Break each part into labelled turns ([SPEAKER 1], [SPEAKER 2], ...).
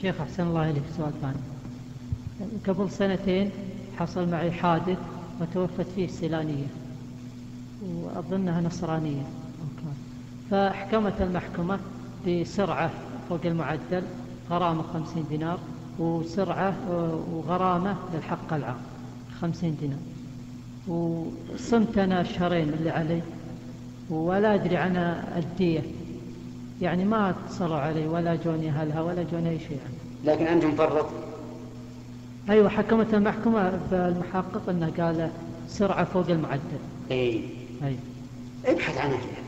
[SPEAKER 1] شيخ أحسن الله إليك سؤال ثاني قبل سنتين حصل معي حادث وتوفت فيه سيلانية وأظنها نصرانية فأحكمت المحكمة بسرعة فوق المعدل غرامة خمسين دينار وسرعة وغرامة للحق العام خمسين دينار وصمت أنا شهرين اللي علي ولا أدري عن الدية يعني ما اتصلوا علي ولا جوني أهلها ولا جوني أي شيء يعني.
[SPEAKER 2] لكن أنت مفرط
[SPEAKER 1] أيوة حكمت المحكمة بالمحقق أنه قال سرعة فوق المعدل
[SPEAKER 2] أي
[SPEAKER 1] أيوة
[SPEAKER 2] إيه. ابحث عن أهلها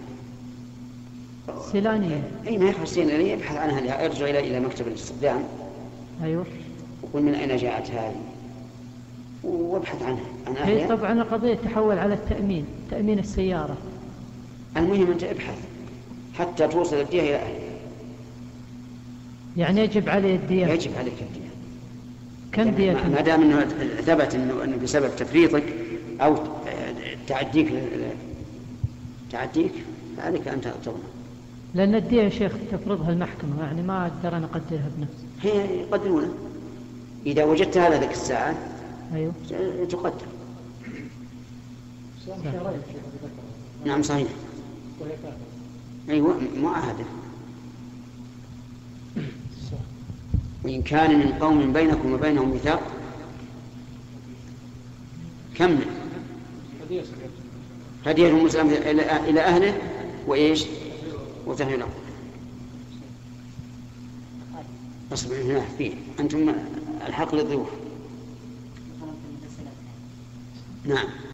[SPEAKER 1] سيلانية
[SPEAKER 2] أي ما يخرج سيناريو ابحث عن أهلها ارجع إلى إلى مكتب الاستخدام
[SPEAKER 1] أيوة
[SPEAKER 2] وقل من أين جاءت هذه وابحث عنها عن
[SPEAKER 1] هي
[SPEAKER 2] أهلها
[SPEAKER 1] طبعا القضية تحول على التأمين تأمين السيارة
[SPEAKER 2] المهم أنت ابحث حتى توصل الدية إلى أهلها
[SPEAKER 1] يعني يجب علي الدية
[SPEAKER 2] يجب عليك الدية
[SPEAKER 1] كم
[SPEAKER 2] يعني ما- ما
[SPEAKER 1] دية
[SPEAKER 2] دام انه ثبت انه انه بسبب تفريطك او تعديك تعديك فعليك ان تضمن
[SPEAKER 1] لأن الدية يا شيخ تفرضها المحكمة يعني ما أقدر أنا أقدرها بنفسي
[SPEAKER 2] هي يقدرونه اذا وجدت هذا ذاك الساعه
[SPEAKER 1] أيوة
[SPEAKER 2] تقدر
[SPEAKER 3] صيام شهرين في أبي بكر
[SPEAKER 2] نعم صحيح
[SPEAKER 3] وهي كافرة
[SPEAKER 2] ايوه معاهده وان كان من قوم بينكم وبينهم ميثاق كمل
[SPEAKER 3] هدية سكت
[SPEAKER 2] هديه المسلم الى الى اهله وايش؟ وتحويل الامر. اصبر هنا فيه انتم الحق للضيوف. نعم